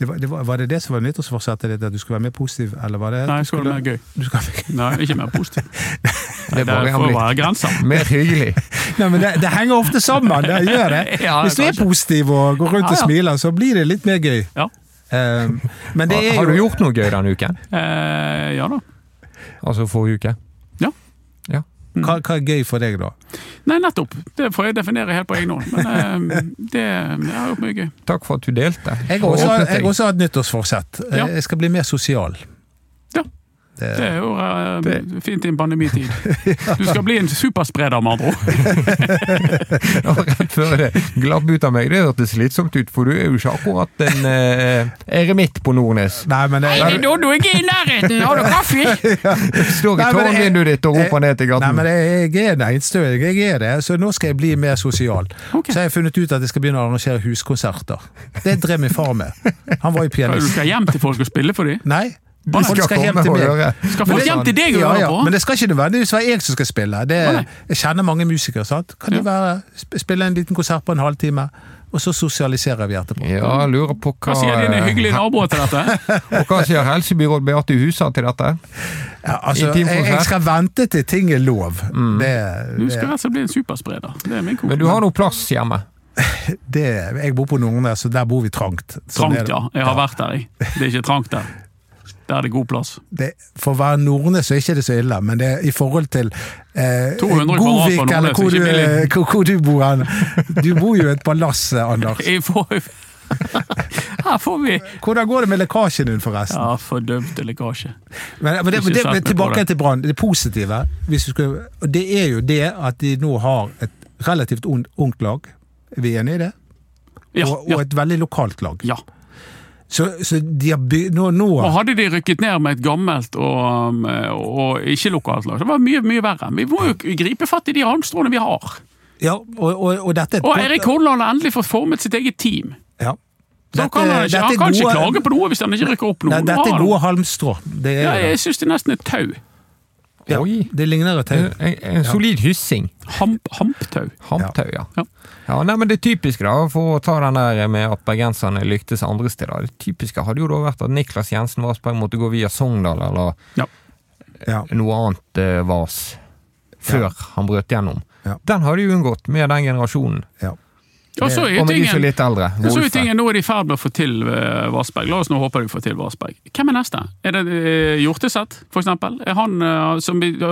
det var, det var, var det det som var nyttårsforsettet ditt, at du skulle være mer positiv? Eller var det Nei, skal det være gøy. Du skal- Nei, ikke mer positiv. Det er Det bare får han være grenser. litt mer hyggelig. Nei, men det, det henger ofte sammen! Det gjør det. Ja, Hvis du er kanskje. positiv og går rundt og Ja, ja. smiler, så blir det litt mer gøy. Ja. Ehm, men det er Har, jo har du gjort noe gøy denne uken? Eh, ja da. Altså forrige uke? hva, hva er gøy for deg, da? Nei, nettopp. Det får jeg definere helt på egen hånd. Men eh, det jeg har gjort mye gøy. Takk for at du delte. Jeg har Og også, åpnet jeg deg. Eh, har også hatt nyttårsforsett. Ja. Jeg skal bli mer sosial. Ja. Det, Det er jo eh, fint i en pandemitid. Du skal bli en superspreder, med andre ord. Og rett før det glapp ut av meg. Det hørtes slitsomt ut, for du er jo ikke akkurat en eh, eremitt på Nordnes. Nei, men det, Nei, Doddo, jeg er i nærheten! Har du kaffe? Du står i Nei, men jeg- tårnvinduet ditt og roper ned til Nei, men gaten. jeg jeg er en einstøing, jeg er det. Så nå skal jeg bli mer sosial. Ok. Så har jeg funnet ut at jeg skal begynne å arrangere huskonserter. Det drev min far med. Han var jo Du pianist. skal hjem til folk og spille for dem? Nei, Du folk skal skal hjem komme til og meg. høre. Skal folk Men det- hjem til deg og Ja, høre ja, på? men det skal ikke nødvendigvis være jeg som skal spille. Det, Å, nei. jeg kjenner mange musikere. sant? Kan de Ja. være, sp- spille en liten konsert på en halvtime, og så sosialiserer vi etterpå? Ja, lurer på hva Hva sier dine hyggelige naboer til dette? Og hva sier helsebyråd Beate Husa til dette? Ja, altså, jeg, Intimkonsert. jeg skal vente til ting er lov. Det, Mm. Du skal det, altså bli en superspreder. Det er min kone. Men du har noe plass hjemme. det, jeg bor på Nordnes, så der bor vi trangt. Sånn er Trangt, det. ja. Jeg har vært der, jeg. Det er ikke trangt der. Der er det god plass. det, for å være nordnes så er ikke det så ille, men det er i forhold til eh, 200 kvadrat på eller Nordnes, hvor du, ikke billig. eh, hvor, hvor du bor hen. Du bor jo i et palass, eh, Anders. Jeg får... Her får vi Hvordan går det med lekkasjen din, forresten? Ja, fordømte lekkasje. Men, men, det, Ikke men det, sett meg på tilbake det. til Brann. Det positive hvis du skulle, og det er jo det at de nå har et relativt un- ungt lag. Er vi enige i det? Ja, og, og ja, et veldig lokalt lag. ja. Så, så de har byg, nå, nå Og hadde de rykket ned med et gammelt og, um, og ikke lokalt lag, det var mye mye verre. Vi må jo gripe fatt i de halmstråene vi har. ja, og, og, og dette er et Og godt- Erik Horneland har endelig fått formet sitt eget team. ja. Da Dette- kan han ikke, dette han er kan ikke gode- klage på noe hvis han ikke rykker opp noe. Nei, Nå Dette har er han- gode halmstrå. Det er ja, det. jeg syns det nesten er tau. Ja, Oi. det ligner et tau. En, Eh, en solid hyssing. Hamp, hamptau. Hamtau, ja. Ja. ja nei, men det typiske, da, for å ta den der med at bergenserne lyktes andre steder Det typiske hadde jo da vært at Niklas Jensen Vassberg måtte gå via Sogndal eller Ja. Ja. noe annet eh, vas før han brøt gjennom. Ja. Den hadde jo unngått med den generasjonen, Eh, Ja. Og så er jo og med de som er tingen, litt eldre. og så er jo Wolfe. tingen nå er de i ferd med å få til eh, Vassberg. La oss nå håpe de får til Vassberg. Hvem er neste? Er det eh, Hjorteset, for eksempel? Er han eh, som vi, du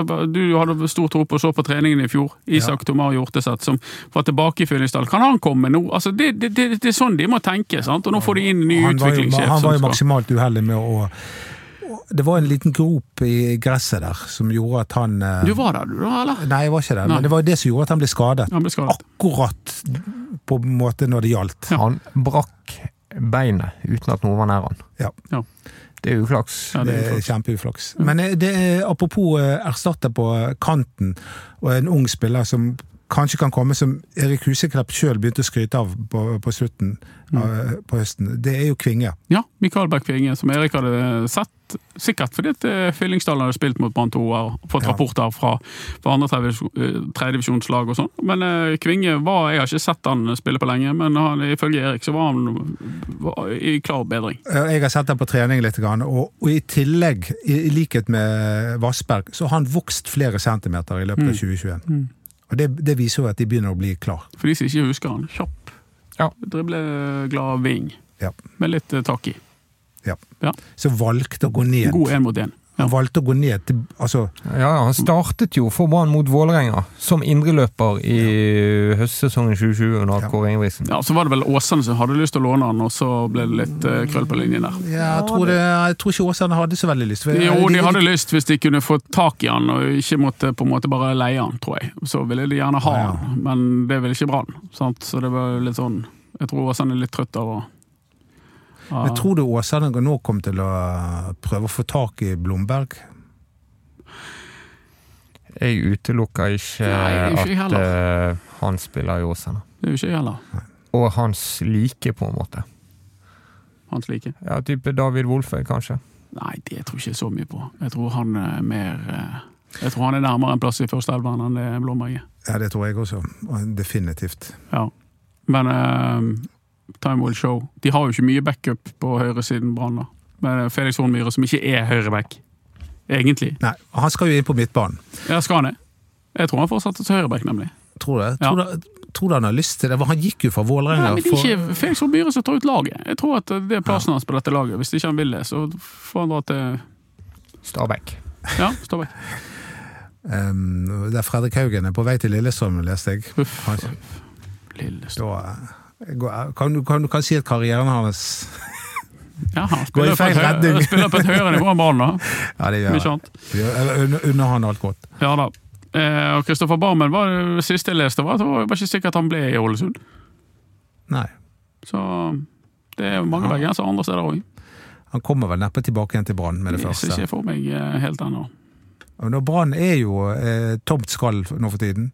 hadde stor tro på og så på treningen i fjor? Isak Tomar Hjorteset, som var tilbake i Fyllingsdal. Kan han komme nå? Altså, det, det, det, det er sånn de må tenke, sant? Og nå får de inn en ny Han var jo, utviklingssjef. han som var jo skal- maksimalt uheldig med å å- Det var en liten grop i gresset der som gjorde at han eh, Du var der, du da, eller? Nei, jeg var ikke det, Nei. men det var det som gjorde at han ble skadet. Han ble skadet. Akkurat på en måte når det gjaldt. Ja. Han brakk beinet uten at noen var nær han. Ja, Det er uflaks. Ja, det det er er klart. kjempeuflaks. Men eh, det er apropos eh, erstatter på kanten, og en ung spiller som kanskje kan komme, som Erik Huseklepp sjøl begynte å skryte av på, på slutten Mm. eh, på høsten, det er jo Kvinge. Ja, Mikael Bech Winge, som Erik hadde sett. Sikkert fordi at eh, Fyllingsdalen hadde spilt mot Brann 2 og fått Ja. rapporter fra, fra andre tredje- eh, tredjedivisjonslag og sånn. Men eh, Kvinge var Jeg har ikke sett han spille på lenge, men han, ifølge Erik så var han var i klar bedring. Eh, Jeg har sett ham på trening litt, grann, og, og i tillegg, i, i likhet med Vassberg, så har han vokst flere centimeter i Mm. løpet av 2021. Og det, det viser jo at de begynner å bli klar. For de som ikke husker han, kjapp. Ja. Dribleglad ving Ja, med litt eh, tak i. ja. Ja. Så valgte å gå ned. God én mot én. Ja. Han valgte å gå ned til Altså, Ja, ja, han startet jo for Brann mot Vålerenga som indreløper i høstsesongen 2020 under Ja. Kåre Ingebrigtsen. ja, Så var det vel Åsane som hadde lyst til å låne han, og så ble det litt eh, krøll på linjen der. ja, jeg, tror det, jeg tror ikke Åsane hadde så veldig lyst. For- Jo, de hadde lyst hvis de kunne få tak i han og ikke måtte på en måte bare leie han, tror jeg. Så ville de gjerne ha Ja. han, men det ville ikke Brann. sant? Så det var jo litt sånn Jeg tror Åsane er litt trøtt av å av- Men tror du Åsane nå kommer til å prøve å få tak i Blomberg? Jeg utelukker ikke Nei, ikke jeg at eh, han spiller i Åsane. Det er jo ikke jeg heller. Og hans like, på en måte. Hans like. Ja, type David Wolfe, kanskje. Nei, det tror jeg ikke så mye på. Jeg tror han er mer eh, Jeg tror han er nærmere en plass i førsteelveren enn det Blomberg er. Ja, det tror jeg også. Definitivt. Ja. Men eh, time will show. De har jo ikke mye backup på høyresiden Brann, da. Men eh, Felix Hornmyhre, som ikke er høyreback, egentlig. Nei, han skal jo inn på midtbanen. Ja, skal han det? Jeg tror han fortsatte til høyreback, nemlig. Tror du det? Tror, du, tror du han har lyst til det? Han gikk jo fra Vålerenga. Nei, men det er for- ikke Felix Hornbyre som tar ut laget. Jeg tror at det er plassen hans på dette laget. Hvis ikke han vil det, så får han dra til Stabæk. Ja, stå vekk. Ehm, der Fredrik Haugen er på vei til Lillestrøm, leste jeg. Uff. Han- Lille stå. eh, Da, eh, går- kan, du, kan, du kan si at karrieren hans Ja, han Går i spiller, på et, feil retning. høy, spiller på et høyere nivå enn ballen, da. Ja, det Mye gjør han. annet. Vi unner- Unner han alt godt. Ja da. Eh, og Kristoffer Barmen var det siste jeg leste, var at det var var ikke sikkert han ble i Ålesund. Nei. Så det er jo mange bergensere andre steder òg. Han kommer vel neppe tilbake igjen til Brann med det Jeg ser første. ikke for meg eh, helt ennå. Og nå, Brann er jo eh, tomt skall nå for tiden.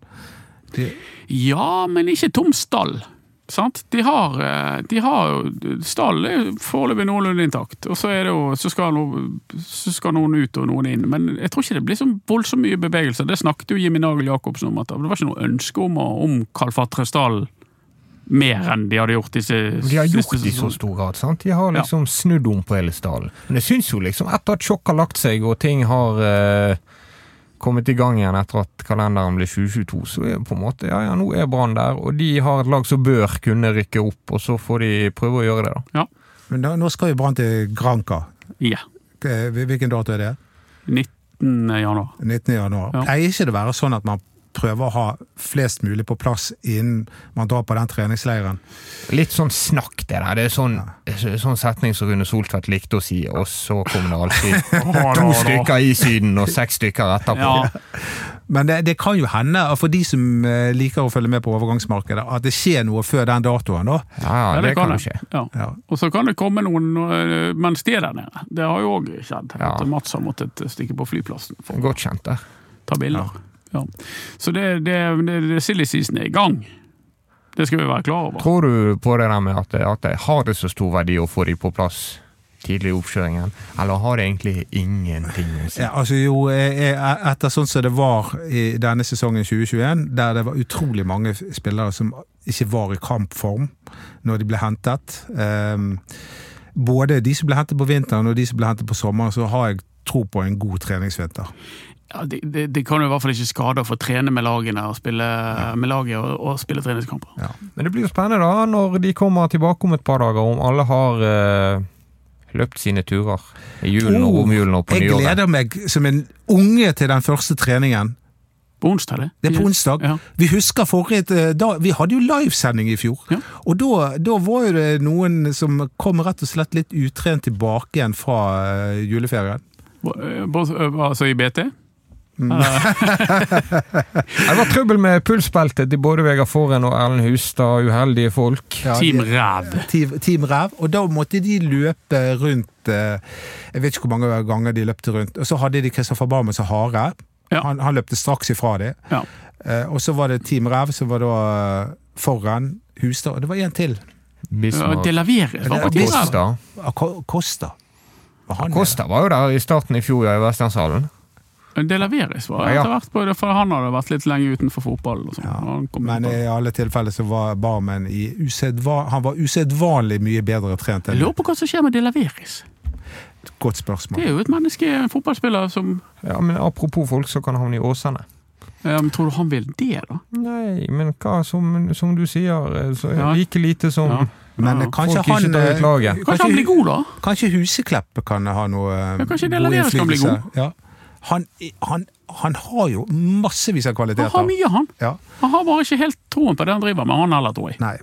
De, Ja, men ikke tom stall. Sant? De har, eh, de har jo Stallen er jo foreløpig noenlunde intakt. Og så, er det jo, så, skal noen, så skal noen ut og noen inn. Men jeg tror ikke det blir så voldsomt mye bevegelse. Det snakket jo Jimmy Nagel Jacobsen om. at Det var ikke noe ønske om å omkalfatre stallen mer enn de hadde gjort disse De har gjort siste det i så sesongen. stor grad. sant? De har Ja. liksom snudd om på hele stallen. Men jeg syns jo liksom, etter at sjokket har lagt seg, og ting har eh, kommet i gang igjen etter at kalenderen ble 2022, så er det på en måte Ja, ja, nå er Brann der, og de har et lag som bør kunne rykke opp, og så får de prøve å gjøre det, da. men da, nå skal jo Brann til Granca. Ja. Eh, Hvilken dato er det? 19. eh, januar. 19. januar. Ja. Pleier ikke det være sånn at man prøver å ha flest mulig på plass innen man drar på den treningsleiren? Litt sånn snakk, det der. Det er sånn, så- sånn setning som Rune Soltvedt likte å si, og så kom det alltid to stykker i Syden og seks stykker etterpå. Ja, Men det, det kan jo hende, og for de som eh, liker å følge med på overgangsmarkedet, at det skjer noe før den datoen, da. Ja, ja, ja, det kan jo skje. Ja. Ja. Og så kan det komme noen øh, mens de er der nede. Det har jo òg skjedd. Ja. At Mats har måttet stikke på flyplassen for å Godt kjent der. ta bilder. Ja. Så det, det, det, det silly season er i gang. Det skal vi være klar over. Tror du på det der med at, at det har det så stor verdi å få de på plass tidlig i oppkjøringen, eller har det egentlig ingenting å si? Ja, altså jo, eh, eh, etter sånn som det var i denne sesongen 2021, der det var utrolig mange f- spillere som ikke var i kampform når de ble hentet. Ehm, både de som ble hentet på vinteren og de som ble hentet på sommeren, så har jeg tro på en god treningsvinter. Ja, det, det, det kan jo i hvert fall ikke skade å få trene med lagene og spille, med laget og, og spille treningskamper. Men det blir jo spennende da, når de kommer tilbake om et par dager, om alle har eh, løpt sine turer i julen og Oh, romjulen og på Jeg nyåret. gleder meg som en unge til den første treningen. På onsdag, det. Det er på onsdag. Ja. Vi husker forrige eh, da, Vi hadde jo livesending i fjor. Ja. Og da, da var jo det noen som kom rett og slett litt utrent tilbake igjen fra eh, juleferien. Bo- bo- Altså i Eh, BT? Mm. Det var trøbbel med pulsbeltet til både Vegard Forhen og Erlend Hustad, uheldige folk. Ja, Team de- Ræv. Team, team Ræv. Og da måtte de løpe rundt eh, Jeg vet ikke hvor mange ganger de løpte rundt. Og så hadde de Kristoffer Barmen som hare. Ja. Han, han løpte straks ifra dem. Ja. Eh, og så var det Team Ræv som var da eh, foran Hustad. Og det var en til. Ja, Bismarck De leverer. Ja, Ja, det er Ræv. Kosta. Ako- Kosta. Var han Kosta var jo der i starten i fjor ja, i Vestlandshallen. Det leveres, var Ja, ja. etter hvert på det, for han hadde vært litt lenge utenfor fotballen. og sånn. Ja, Han kom Men eh, tilbake. i alle tilfeller så var Barmen i usedva- Han var usedvanlig mye bedre trent Jeg enn lurer på hva som skjer med De Laveris. Godt Det spørsmål. er jo et menneske, en fotballspiller, som Ja, men apropos folk som kan havne i Åsane. ja, men Tror du han vil det, da? Nei, men hva, som, som du sier, eh, så er det Ja. like lite som Ja. Men Ja. kanskje Folk ikke han, tar ut laget. eh, Kanskje han blir god, da? Kanskje Huseklepp kan ha noe eh, Ja, kanskje det god Laveres kan bli innflytelse. Ja. Han, han, han har jo massevis av Han har kvaliteter. mye, han. Ja. Han har bare ikke helt troen på det han driver med, han heller, tror jeg. Nei,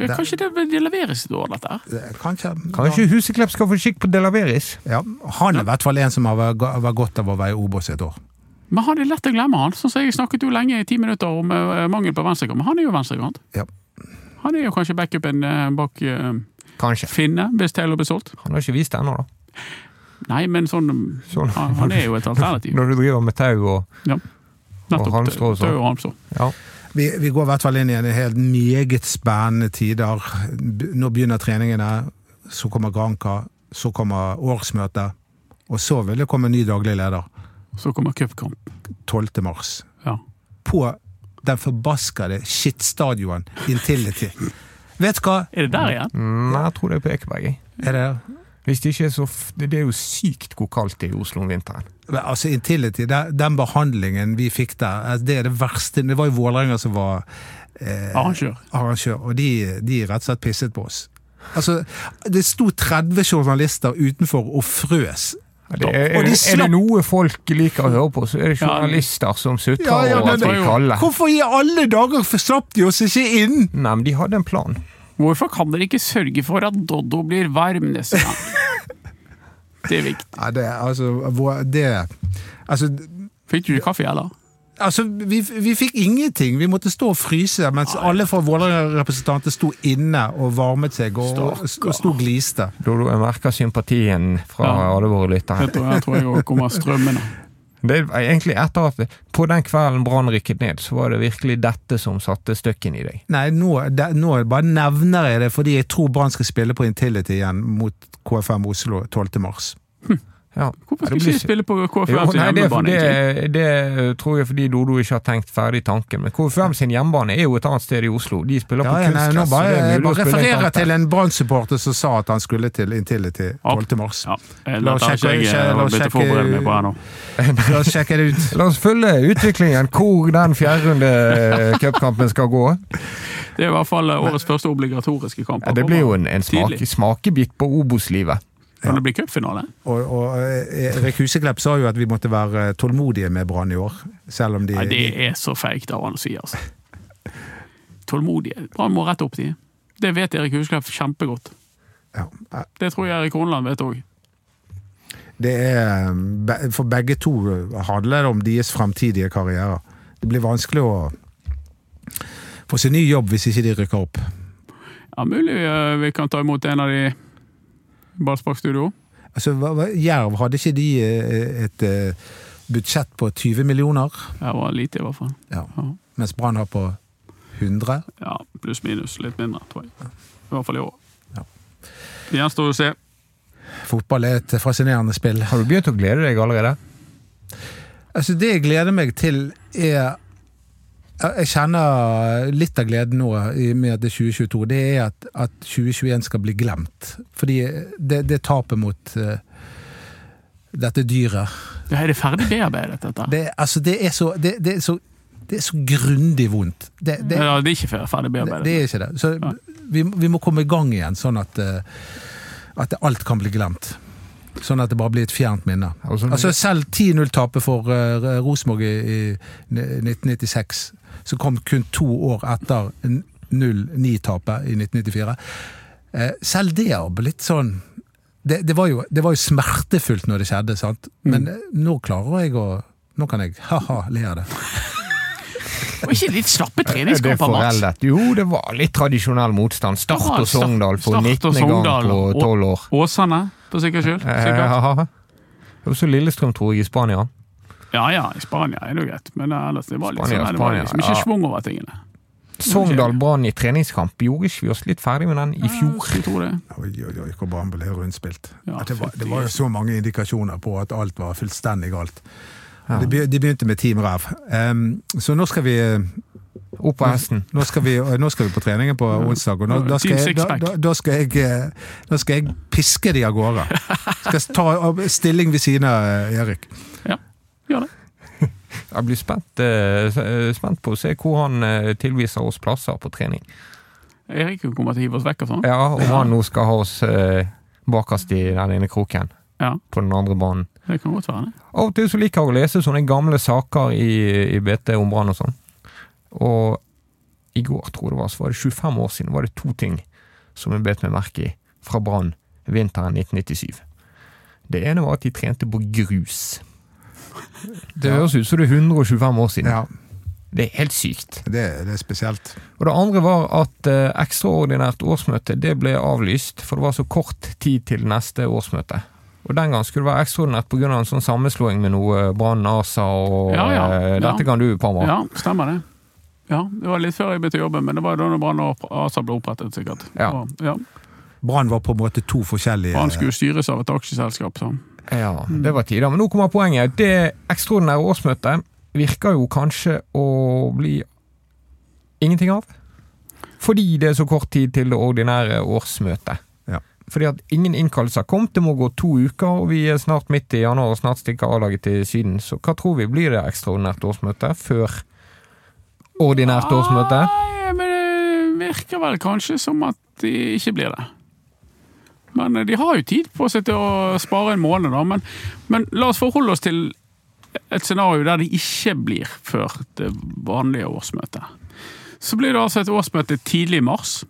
Ja, Kanskje det, det leveres et år, dette her. det- eh, kanskje, Kanskje Huseklepp skal få kikk på Delaveris? Ja. Han er i hvert fall en som har vært vært godt av å være i Obos et år. Men han er lett å glemme, han. Sånn som Jeg snakket jo lenge i ti minutter om eh, mangel på venstrekant, men han er jo venstrekant. Ja. Han er jo kanskje backupen eh, bak eh, Kanskje. Finne, hvis Taylor blir solgt. Han har ikke vist det ennå, da. Nei, men sånn, Sånn. Han, han er jo et alternativ. Når du driver med tau og Nettopp. halmstrå og sånn. Tau og halmstrå. Ja. Vi, vi går i hvert fall inn i en helt meget spennende tider. B- Nå begynner treningene, så kommer Granca, så kommer årsmøtet. Og så vil det komme en ny daglig leder Så kommer cupkamp. 12. mars. Ja. På den forbaskede skittstadion Intility. Vet du hva? Er det der igjen? Mm, Nei, jeg tror det er på Ekeberg. jeg. Er det Hvis det ikke er så f Det det er jo sykt hvor kaldt det er i Oslo om vinteren. Men Altså, Intility, det- den behandlingen vi fikk der, altså, det er det verste. Det var jo Vålerenga som var eh, Arrangør. arrangør, og de, de rett og slett pisset på oss. Altså, Det sto 30 journalister utenfor og frøs. Ja, Det er, er, Og det, de er slapp- det noe folk liker å høre på, så er det Ja, journalister som sutrer over men at vi det- er kalde. Hvorfor i alle dager slapp de oss ikke inn?! Nei, men de hadde en plan. Hvorfor kan dere ikke sørge for at Doddo blir varm neste gang? Det er viktig. Ja, det, altså, hvor- det, altså, Fikk du kaffe, eller? altså vi, vi fikk ingenting. Vi måtte stå og fryse, mens alle fra Vålerenga-representanter sto inne og varmet seg og, og, og sto og gliste. Dodo, jeg merker sympatien fra Ja. alle våre lyttere. Det tror jeg, jeg tror jeg også kommer strømmende. Det er egentlig etter at På den kvelden Brann rykket ned, så var det virkelig dette som satte støkken i deg. Nei, nå, det, nå bare nevner jeg det, fordi jeg tror Brann skal spille på Intility igjen mot KFM Oslo 12. mars. Ja. Hvorfor Ja, skal det ikke blir vi sy- spille på Jo, KFM sin nei, det, hjemmebane? egentlig? det, det tror jeg fordi Dodo ikke har tenkt ferdig tanken. Men KFUM sin hjemmebane er jo et annet sted i Oslo. De spiller Ja, på ja, nei, nå kunstgress. så bare, det er jeg mulig å bare spille en refererer kamp der. til en Brann-supporter som sa at han skulle til Intility 12. mars. Ja, eh, La dette oss har sjekke- ikke jeg la eh, oss begynt å sjekke- forberede meg på her nå. La oss sjekke det ut. La oss følge utviklingen hvor den fjerdrunde eh, cupkampen skal gå. Det er i hvert fall eh, årets første obligatoriske kamp. Ja, det blir jo en, en smak, Tidlig. smakebit på Obos-livet. Kan det bli cupfinale? Og, og eh, Erik Huseklepp sa jo at vi måtte være eh, tålmodige med Brann i år, selv om de Nei, det er så feigt av han å si, altså. Tålmodighet. Brann må rett opp de. Det vet Erik Husklepp kjempegodt. ja, eh, Det tror jeg Erik Horneland vet òg. det er eh, be- For begge to handler det om deres fremtidige karrierer. Det blir vanskelig å få seg ny jobb hvis ikke de rykker opp. Ja, mulig eh, vi kan ta imot en av de i ballsparkstudio. Altså, hva, hva, Jerv, hadde ikke de eh, et eh, budsjett på 20 millioner? Det var lite, i hvert fall. Ja. Ja. Mens Brann har på 100? Ja, Pluss minus litt mindre, tror jeg. I hvert fall i år. Ja. Det gjenstår å se. Fotball er et fascinerende spill. Har du begynt å glede deg allerede? Altså, det jeg gleder meg til, er jeg- jeg kjenner litt av gleden nå i og med at det er 2022. Det er at, at 2021 skal bli glemt. Fordi det, det tapet mot eh, dette dyret Ja, er det ferdig bearbeidet, dette? Det, det, altså, det, er så, det, det er så Det er så grundig vondt. Det, det, ja, det er ikke ferdig Det, bearbeidet. det er ikke det. Så vi, vi må komme i gang igjen, sånn at, eh, at alt kan bli glemt. Sånn at det bare blir et fjernt minne. Altså, Altså Selv 10-0-tapet for eh, Rosenborg i, i 1996, som kom kun to år etter 0-9-tapet i 1994 eh, Selv det har blitt sånn det, det, var jo, det var jo smertefullt når det skjedde, sant? men eh, nå klarer jeg å Nå kan jeg ha-ha le av det. Og ikke litt slappe Er det treningskamper, Mats? foreldet? Jo, det var litt tradisjonell motstand. Start Det var og Sogndal for Start 19. og gang Sogndal, på og- 12 år. Åsane, for sikkerhets skyld. Sikkert. Eh, Og så Lillestrøm, tror jeg, i Spania. Ja ja, i Spania er det jo greit, men ellers det var litt Spania, sånn, nei, det var Spania, liksom ikke ja. schwung over tingene. Sogndal Brann i treningskamp. Gjorde ikke vi oss litt ferdig med den i fjor? Jeg tror det. Oi, oi, oi, hvor Brann ble rundspilt. Ja, At det, var, det fytti. var jo så mange indikasjoner på at alt var fullstendig galt. Og De, be- de begynte med Team Ræv. Em, så nå skal vi eh, Opp på hesten. nå skal vi, eh, nå skal vi på treningen på onsdag, og nå, da, skal Team jeg, da, Sixpack. da, da, skal jeg, eh, da skal jeg piske de av gårde. Skal ta av- stilling ved siden av eh, Erik. Ja, gjør det. Jeg blir spent, eh, s- eh, spent på å se hvor han eh, tilviser oss plasser på trening. Erik kommer til å hive oss vekk og sånn. Ja, Om han nå skal ha oss eh, bakerst i den ene kroken Ja, på den andre banen. det kan godt være det. Av og til så liker jeg å lese sånne gamle saker i, i BT om brann og sånn. Og i går, tror jeg det var, så var det 25 år siden var det to ting som jeg bet meg merke i fra Brann vinteren 1997. Det ene var at de trente på grus. Det høres ut som det er 125 år siden. Ja, Det er helt sykt. det, det er spesielt. Og det andre var at eh, ekstraordinært årsmøte det ble avlyst, for det var så kort tid til neste årsmøte. Og den gang skulle det være ekstraordinært pga. en sånn sammenslåing med noe Brann ASA og Ja, ja, eh, ja. Dette kan du, Parma. Ja, stemmer det. Ja, Det var litt før jeg begynte å jobbe, men det var da når Brann og ASA ble opprettet, sikkert. Ja. Og, ja. Brann var på en måte to forskjellige Brann skulle styres av et aksjeselskap, så Ja, det var tider. Men nå kommer poenget. Det ekstraordinære årsmøtet virker jo kanskje å bli ingenting av. Fordi det er så kort tid til det ordinære årsmøtet. Ja. Fordi at ingen innkallelser har kommet. Det må gå to uker, og vi er snart midt i januar og snart stikker A-laget til Syden. Så hva tror vi blir det ekstraordinært årsmøte før ordinært årsmøte? Nei, men det virker vel kanskje som at de ikke blir det. Men eh, de har jo tid på seg til å spare en måned, da. Men, men la oss forholde oss til et scenario der det ikke blir før det vanlige årsmøtet. Så blir det altså et årsmøte tidlig i mars.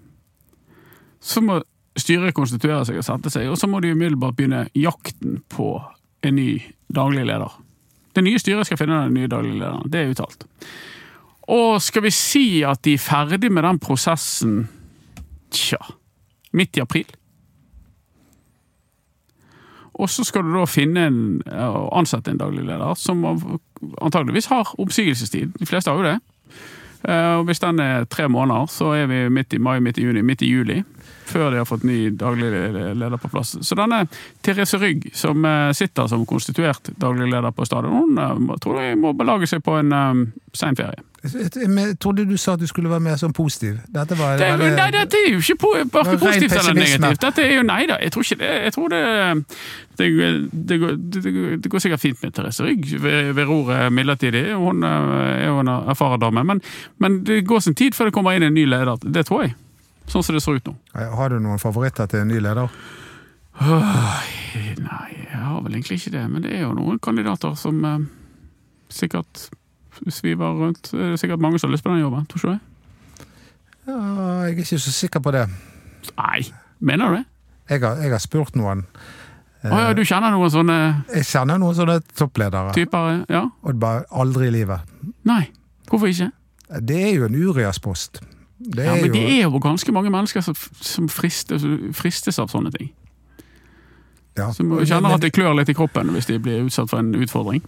Så må styret konstituere seg og sette seg, og så må de umiddelbart begynne jakten på en ny daglig leder. Det nye styret skal finne den nye daglige lederen. Det er uttalt. Og skal vi si at de er ferdig med den prosessen tja, midt i april? Og så skal du da finne en, og ansette en daglig leder som antageligvis har oppsigelsestid. De fleste har jo det. Eh, Og hvis den er tre måneder, så er vi midt i mai, midt i juni, midt i juli. Før de har fått ny daglig leder på plass. Så denne Therese Rygg, som eh, sitter som konstituert daglig leder på stadion, hun eh, må- tror jeg må belage seg på en eh, sein ferie. Jeg men- trodde du sa at du skulle være mer sånn positiv. Dette var Det, er jo- veldig- nei, dette er jo ikke po Ren verken positivt eller pessimisme. negativt. Dette er jo nei da. Jeg tror ikke det. Jeg tror det, det, det, går, det, går- det går sikkert fint med Therese Rygg ved, ved roret midlertidig. Hun eh, er jo en erfaren dame. Men, men det går sin tid før det kommer inn en ny leder. Det tror jeg. Sånn som det ser ut nå. Har du noen favoritter til en ny leder? Nei, jeg har vel egentlig ikke det. Men det er jo noen kandidater som eh, sikkert sviver rundt. Det er sikkert mange som har lyst på den jobben. Tror ikke du det? Ja, jeg er ikke så sikker på det. Nei, mener du det? Jeg har, jeg har spurt noen. Eh, Å ja, du kjenner noen sånne Jeg kjenner noen sånne toppledere, typer? Ja? og bare aldri i livet. Nei. Hvorfor ikke? Det er jo en Urias-post. Det Ja, er men det jo er jo ganske mange mennesker som, som fristes, fristes av sånne ting. ja. Som kjenner at det klør litt i kroppen hvis de blir utsatt for en utfordring.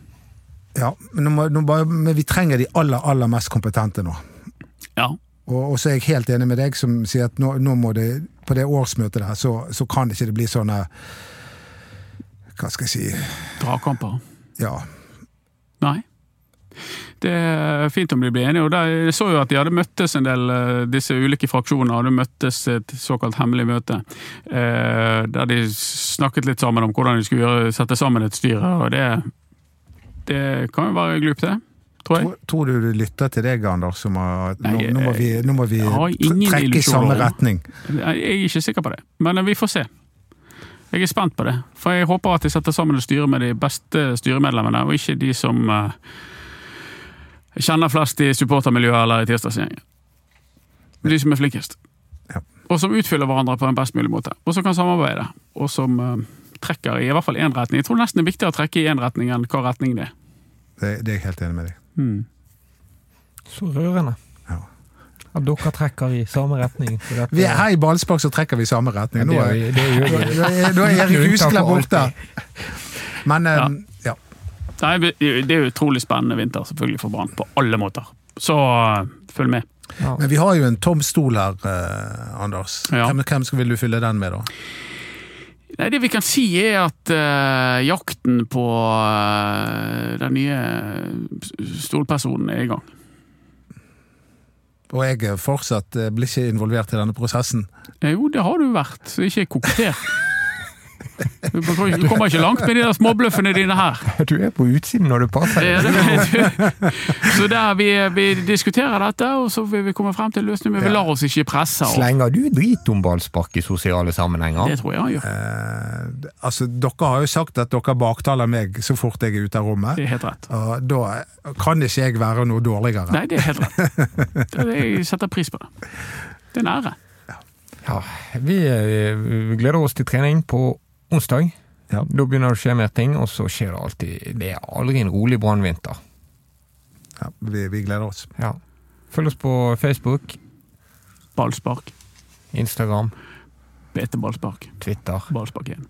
Ja, men, nå må, nå bare, men vi trenger de aller, aller mest kompetente nå. Ja. Og, og så er jeg helt enig med deg som sier at nå, nå må det, på det årsmøtet der, så, så kan det ikke det bli sånne Hva skal jeg si Dragkamper. Ja. Nei. Det er fint om de blir enige. og der, Jeg så jo at de hadde møttes en del, eh, disse ulike fraksjonene hadde møttes i et såkalt hemmelig møte. eh, Der de snakket litt sammen om hvordan de skulle gjøre, sette sammen et styre. og Det, det kan jo være glupt, det. Tror jeg. Tror, tror du du lytter til deg, Anders, som har nå, Nei, nå må vi, nå må vi jeg har ingen trekke i illusjoner samme om- retning. Jeg er ikke sikker på det, men vi får se. Jeg er spent på det, for jeg håper at de setter sammen et styre med de beste styremedlemmene, og ikke de som eh, kjenner flest i supportermiljøet eller i tirsdagsgjengen. De som er flinkest. Ja. Og som utfyller hverandre på en best mulig måte, og som kan samarbeide. Og som eh, trekker i i hvert fall én retning. Jeg tror nesten det er viktigere å trekke i én retning enn hva retning det er. Det, det er jeg helt enig med deg. Hmm. Så rørende. Ja. At dere trekker i samme retning. på dette. Vi er her i ballspark, så trekker vi i samme retning. Nå Det er, er jo- det er jo- nå er, nå er Erik Husklepp borte. Men eh, ja. Nei, Det er jo utrolig spennende vinter, selvfølgelig, for Brann. På alle måter. Så eh, følg med. Ja. Men vi har jo en tom stol her, eh, Anders. Ja. Hvem, hvem skal, vil du fylle den med, da? Nei, Det vi kan si er at eh, jakten på eh, den nye stolpersonen er i gang. Og jeg er fortsatt eh, blir ikke involvert i denne prosessen. Eh, Jo, det har du vært, så ikke kokter. Du kommer- du kommer ikke langt med de der småbløffene dine her. Du er på utsiden når du passer. Det, er det. Så der vi, vi diskuterer dette, og så vil vi komme frem til en løsning. Men vi lar oss ikke presse. av- Slenger du drit om ballspark i sosiale sammenhenger? Det tror jeg han gjør. Eh, altså, dere har jo sagt at dere baktaler meg så fort jeg er ute av rommet. Det er helt rett. Og da kan ikke jeg være noe dårligere. Nei, det er helt rett. Det er det jeg setter pris på. det. Det er en ære. Ja, vi, eh, vi gleder oss til trening på onsdag. Ja. Da begynner det å skje mer ting, og så skjer det alltid Det er aldri en rolig brannvinter. Ja, vi, vi gleder oss. Ja. Følg oss på Facebook, Ballspark. Instagram, Bete ballspark. Twitter. Ballspark igjen.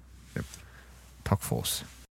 Takk for oss.